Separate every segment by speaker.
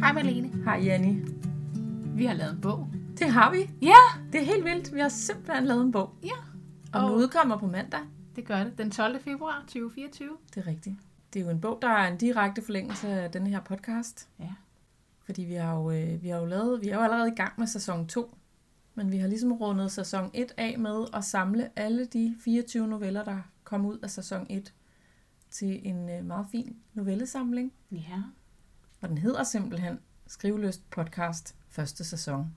Speaker 1: Hej Malene.
Speaker 2: Hej Jenny.
Speaker 1: Vi har lavet en bog.
Speaker 2: Det har vi.
Speaker 1: Ja,
Speaker 2: Det er helt vildt. Vi har simpelthen lavet en bog.
Speaker 1: Ja.
Speaker 2: Og den
Speaker 1: Og-
Speaker 2: udkommer på mandag.
Speaker 1: det gør det. Den 12. februar 2024.
Speaker 2: Det er rigtigt. Det er jo en bog, der er en direkte forlængelse af den her podcast.
Speaker 1: Ja.
Speaker 2: Fordi vi har jo, øh, vi har jo lavet, vi er jo allerede i gang med sæson 2. Men vi har ligesom rundet sæson 1 af med at samle alle de 24 noveller, der kom ud af sæson 1 til en øh, meget fin novellesamling.
Speaker 1: Ja.
Speaker 2: Og den hedder simpelthen Skriveløst podcast første sæson.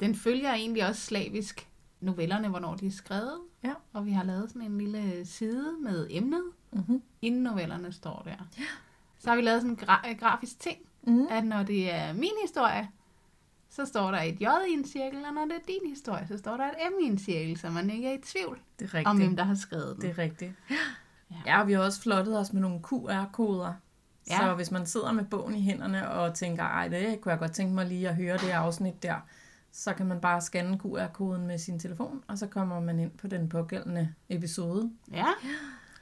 Speaker 1: Den følger egentlig også slavisk novellerne, hvornår de er skrevet.
Speaker 2: Ja.
Speaker 1: Og vi har lavet sådan en lille side med emnet,
Speaker 2: Mm-hmm.
Speaker 1: inden novellerne står der. Ja. Så har vi lavet sådan en gra- øh, grafisk ting,
Speaker 2: Mm.
Speaker 1: at når det er min historie, så står der et J i en cirkel, og når det er din historie, så står der et M i en cirkel, så man ikke er i tvivl
Speaker 2: Det er
Speaker 1: om, hvem der har skrevet den.
Speaker 2: Det er rigtigt.
Speaker 1: Ja.
Speaker 2: Ja. ja, og vi har også flottet os med nogle QR-koder.
Speaker 1: Ja.
Speaker 2: Ja. Så hvis man sidder med bogen i hænderne og tænker, ej, det kunne jeg godt tænke mig lige at høre det afsnit der, så kan man bare scanne QR-koden med sin telefon, og så kommer man ind på den pågældende episode.
Speaker 1: Ja.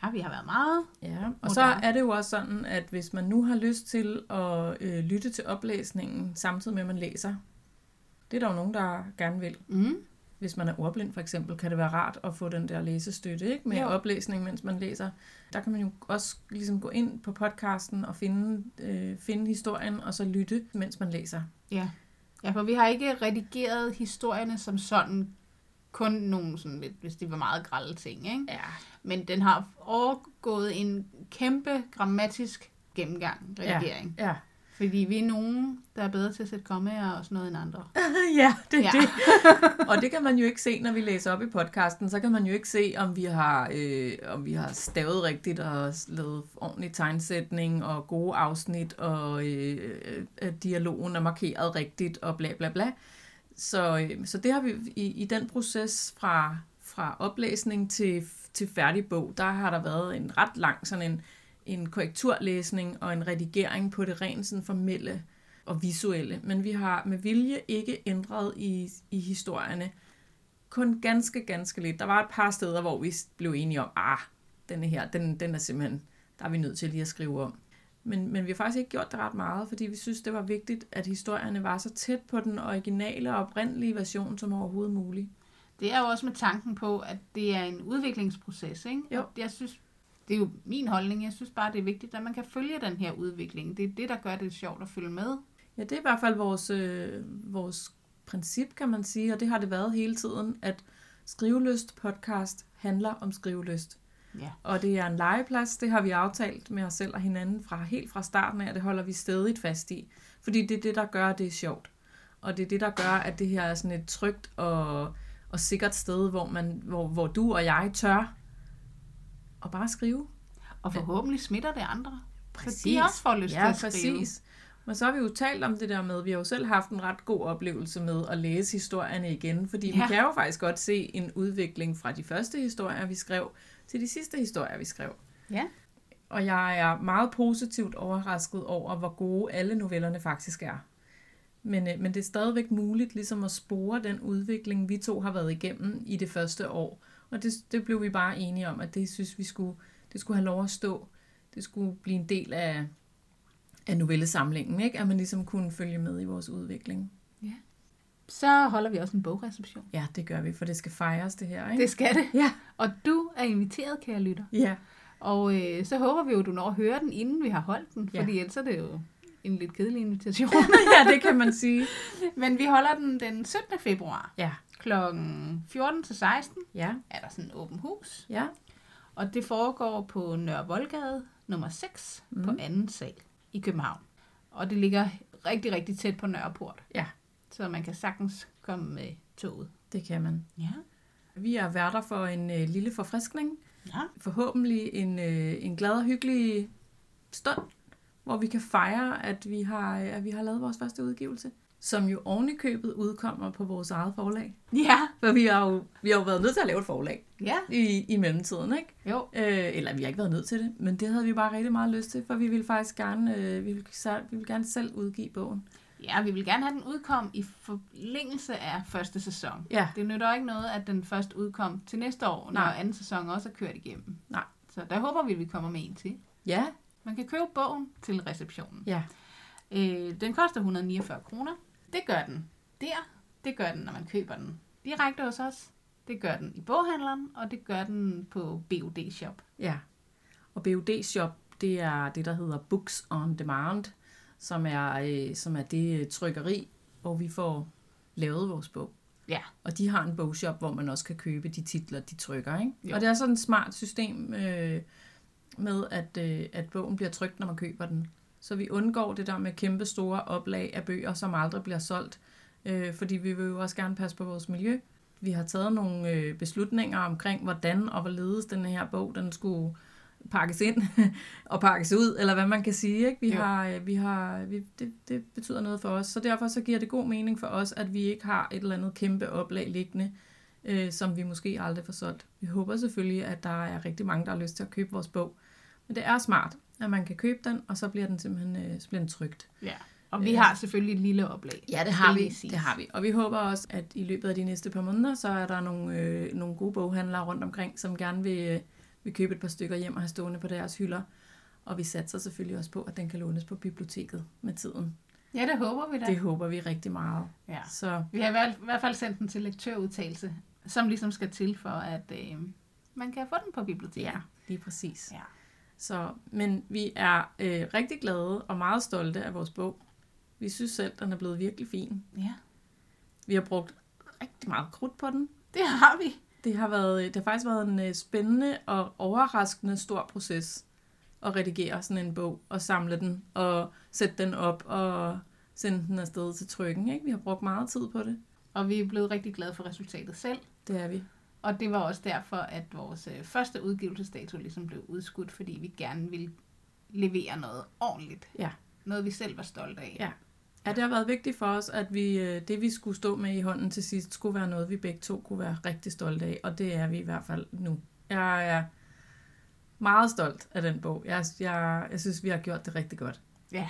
Speaker 1: ja, vi har været meget.
Speaker 2: Ja, og så
Speaker 1: Moderne.
Speaker 2: er det jo også sådan, at hvis man nu har lyst til at øh, lytte til oplæsningen, samtidig med at man læser, det er der jo nogen, der gerne vil.
Speaker 1: Mm.
Speaker 2: Hvis man er ordblind for eksempel, kan det være rart at få den der læsestøtte ikke? med
Speaker 1: Jo.
Speaker 2: jo. oplæsning, mens man læser. Der kan man jo også ligesom gå ind på podcasten og finde, øh, finde historien, og så lytte, mens man læser.
Speaker 1: Ja. ja, for vi har ikke redigeret historierne som sådan, kun nogle sådan lidt, hvis det var meget grælde ting, ikke?
Speaker 2: Ja,
Speaker 1: Men den har overgået en kæmpe grammatisk gennemgang, redigering. Ja.
Speaker 2: ja.
Speaker 1: Fordi vi er nogen, der er bedre til at sætte kommaer og sådan noget end andre.
Speaker 2: ja, det er
Speaker 1: Ja.
Speaker 2: ja. det. Og det kan man jo ikke se, når vi læser op i podcasten. Så kan man jo ikke se, om vi har, øh, om vi har stavet rigtigt og lavet ordentlig tegnsætning og gode afsnit, og øh, øh, at dialogen er markeret rigtigt og bla bla bla. Så, øh, så det har vi i, i den proces fra, fra oplæsning til, til færdig bog, der har der været en ret lang sådan en, en korrekturlæsning og en redigering på det rent sådan formelle og visuelle. Men vi har med vilje ikke ændret i, i historierne. Kun ganske, ganske lidt. Der var et par steder, hvor vi blev enige om, ah, denne her, den, den er simpelthen, der er vi nødt til lige at skrive om. Men, men vi har faktisk ikke gjort det ret meget, fordi vi synes, det var vigtigt, at historierne var så tæt på den originale og oprindelige version som overhovedet muligt.
Speaker 1: Det er jo også med tanken på, at det er en udviklingsproces, ikke?
Speaker 2: Jo.
Speaker 1: Og Jeg synes, det er jo min holdning, jeg synes bare, det er vigtigt, at man kan følge den her udvikling. Det er det, der gør det sjovt at følge med.
Speaker 2: Ja, det er i hvert fald vores, øh, vores princip, kan man sige, og det har det været hele tiden, at Skriveløst podcast handler om skriveløst.
Speaker 1: Ja.
Speaker 2: Og det er en legeplads, det har vi aftalt med os selv og hinanden fra helt fra starten af, og det holder vi stadig fast i. Fordi det er det, der gør, at det er sjovt. Og det er det, der gør, at det her er sådan et trygt og, og sikkert sted, hvor, man, hvor, hvor du og jeg tør at bare skrive.
Speaker 1: Og forhåbentlig smitter det andre. Så de også får lyst
Speaker 2: ja,
Speaker 1: til at skrive.
Speaker 2: præcis. Men så har vi jo talt om det der med, vi har jo selv haft en ret god oplevelse med at læse historierne igen, fordi ja.
Speaker 1: Ja.
Speaker 2: vi kan jo faktisk godt se en udvikling fra de første historier, vi skrev, til de sidste historier, vi skrev.
Speaker 1: Ja.
Speaker 2: Og jeg er meget positivt overrasket over, hvor gode alle novellerne faktisk er. Men, øh, men det er stadigvæk muligt ligesom at spore den udvikling, vi to har været igennem i det første år. Og det, det blev vi bare enige om, at det synes vi skulle, det skulle have lov at stå. Det skulle blive en del af, af novellesamlingen, ikke? at man ligesom kunne følge med i vores udvikling.
Speaker 1: Så holder vi også en bogreception.
Speaker 2: Ja, det gør vi, for det skal fejres det her. Ikke?
Speaker 1: Det skal det.
Speaker 2: Ja.
Speaker 1: Og du er inviteret, kære lytter.
Speaker 2: Ja,
Speaker 1: Og øh, så håber vi jo, du når at høre den, inden vi har holdt den.
Speaker 2: Ja.
Speaker 1: Fordi ellers er det jo en lidt kedelig invitation.
Speaker 2: ja, det kan man sige.
Speaker 1: Men vi holder den den 17. februar
Speaker 2: Ja,
Speaker 1: kl. 14 til 16.
Speaker 2: ja,
Speaker 1: Er der sådan en åben hus?
Speaker 2: ja. Og
Speaker 1: Og det foregår på Nørre Voldgade nummer 6 mm. på anden sal i København. Og det ligger rigtig, rigtig tæt på Nørreport,
Speaker 2: ja,
Speaker 1: så man kan sagtens komme med toget.
Speaker 2: det kan man.
Speaker 1: Ja.
Speaker 2: Vi er værter for en øh, lille forfriskning.
Speaker 1: ja.
Speaker 2: Forhåbentlig en, øh, en glad og hyggelig stund, hvor vi kan fejre, at vi har, øh, at vi har lavet vores første udgivelse. Som jo ovenikøbet udkommer på vores eget forlag.
Speaker 1: Ja.
Speaker 2: For vi har jo, vi har jo været nødt til at lave et forlag
Speaker 1: Ja.
Speaker 2: i, i mellemtiden, ikke?
Speaker 1: Jo.
Speaker 2: Øh, eller vi har ikke været nødt til det, men det havde vi bare rigtig meget lyst til, for vi ville faktisk gerne, øh, vi ville, selv- vi ville gerne selv udgive bogen.
Speaker 1: Ja, vi vil gerne have den udkom i forlængelse af første sæson.
Speaker 2: Ja,
Speaker 1: Det nytter ikke noget, at den først udkom til næste år, når
Speaker 2: Nej.
Speaker 1: anden sæson også er kørt igennem.
Speaker 2: Nej.
Speaker 1: Så der håber vi, at vi kommer med en til.
Speaker 2: ja,
Speaker 1: Man kan købe bogen til receptionen.
Speaker 2: ja,
Speaker 1: Øh, den koster 149 kroner. Det gør den der. Det gør den, når man køber den direkte hos os. Det gør den i boghandleren, og det gør den på BOD Shop.
Speaker 2: Ja. Og BUD Shop, det er det, der hedder Books on Demand, som er, øh, som er det øh, trykkeri, hvor vi får lavet vores bog.
Speaker 1: Ja,
Speaker 2: Og de har en bogshop, hvor man også kan købe de titler, de trykker. Ikke?
Speaker 1: Jo.
Speaker 2: Og det er sådan et smart system øh, med, at, øh, at bogen bliver trykt, når man køber den. Så vi undgår det der med kæmpe store oplag af bøger, som aldrig bliver solgt. Øh, fordi vi vil jo også gerne passe på vores miljø. Vi har taget nogle øh, beslutninger omkring, hvordan og hvorledes den her bog den skulle pakkes ind og pakkes ud, eller hvad man kan sige. Ikke? Vi
Speaker 1: Jo.
Speaker 2: har, øh, vi har, vi, det, det betyder noget for os. Så derfor så giver det god mening for os, at vi ikke har et eller andet kæmpe oplag liggende, øh, som vi måske aldrig får solgt. Vi håber selvfølgelig, at der er rigtig mange, der har lyst til at købe vores bog. Men det er smart, at man kan købe den, og så bliver den simpelthen øh, så bliver den trygt.
Speaker 1: ja. Og vi har selvfølgelig et lille oplag.
Speaker 2: Øh. Ja, det
Speaker 1: har vi.
Speaker 2: Det har vi. Og vi håber også, at i løbet af de næste par måneder, så er der nogle, øh, nogle gode boghandlere rundt omkring, som gerne vil, øh, vil købe et par stykker hjem og have stående på deres hylder. Og vi satser selvfølgelig også på, at den kan lånes på biblioteket med tiden.
Speaker 1: Ja, det håber vi da.
Speaker 2: Ja. Det håber vi rigtig meget.
Speaker 1: Ja.
Speaker 2: Så
Speaker 1: Vi har i hvert- i hvert fald sendt den til lektørudtalelse, som ligesom skal til for, at øh, man kan få den på biblioteket.
Speaker 2: ja, lige præcis.
Speaker 1: ja.
Speaker 2: Så, men vi er øh, rigtig glade og meget stolte af vores bog. Vi synes selv, den er blevet virkelig fin.
Speaker 1: ja.
Speaker 2: Vi har brugt rigtig meget krudt på den.
Speaker 1: Det har vi.
Speaker 2: Det har, været, det har faktisk været en øh, spændende og overraskende stor proces at redigere sådan en bog og samle den og sætte den op og sende den afsted til trykken. Ikke? Vi har brugt meget tid på det.
Speaker 1: Og vi er blevet rigtig glade for resultatet selv.
Speaker 2: Det er vi.
Speaker 1: Og det var også derfor, at vores øh, første udgivelsesdato ligesom blev udskudt, fordi vi gerne ville levere noget ordentligt.
Speaker 2: Ja.
Speaker 1: Noget, vi selv var stolte af.
Speaker 2: Ja. Ja, det har været vigtigt for os, at vi, øh, det vi skulle stå med i hånden til sidst, skulle være noget, vi begge to kunne være rigtig stolte af, og det er vi i hvert fald nu. Jeg er meget stolt af den bog. Jeg, jeg, jeg synes, vi har gjort det rigtig godt.
Speaker 1: ja.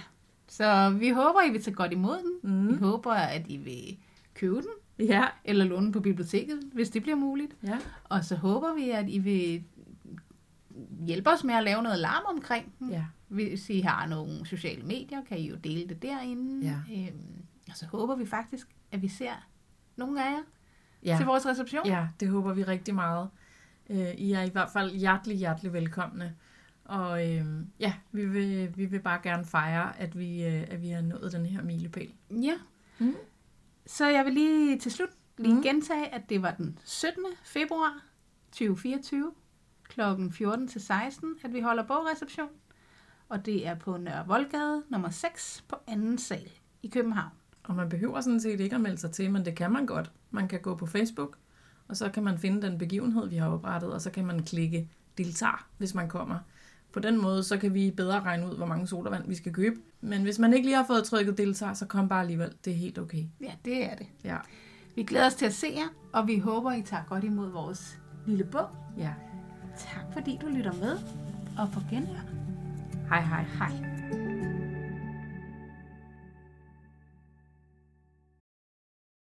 Speaker 1: Så vi håber, I vil tage godt imod den.
Speaker 2: Mm.
Speaker 1: Vi håber, at I vil købe den,
Speaker 2: Ja,
Speaker 1: eller låne den på biblioteket, hvis det bliver muligt.
Speaker 2: ja.
Speaker 1: Og så håber vi, at I vil hjælpe os med at lave noget larm omkring den.
Speaker 2: ja.
Speaker 1: Hvis I har nogle sociale medier, kan I jo dele det derinde.
Speaker 2: Ja.
Speaker 1: Øhm, og så håber vi faktisk, at vi ser nogle af jer
Speaker 2: ja.
Speaker 1: til vores reception.
Speaker 2: Ja, det håber vi rigtig meget. Øh, I er i hvert fald hjertelig, hjertelig velkomne. Og øh, ja, vi vil, vi vil bare gerne fejre, at vi, øh, at vi har nået den her milepæl.
Speaker 1: ja.
Speaker 2: Mm.
Speaker 1: Så jeg vil lige til slut lige
Speaker 2: Mm.
Speaker 1: mm. gentage, at det var den 17. februar 2024 kl. 14 til 16, at vi holder bogreception. Og det er på Nørre Voldgade nummer 6 på anden sal i København.
Speaker 2: Og man behøver sådan set ikke at melde sig til, men det kan man godt. Man kan gå på Facebook, og så kan man finde den begivenhed, vi har oprettet, og så kan man klikke deltager, hvis man kommer. På den måde, så kan vi bedre regne ud, hvor mange sodavand vi skal købe. Men hvis man ikke lige har fået trykket deltager, så kom bare alligevel. Det er helt okay.
Speaker 1: Ja, det er det.
Speaker 2: Ja,
Speaker 1: Vi glæder os til at se jer, og vi håber, I tager godt imod vores lille bog.
Speaker 2: ja.
Speaker 1: Tak fordi du lytter med, og på genhør.
Speaker 2: Hej hej.
Speaker 1: Hej.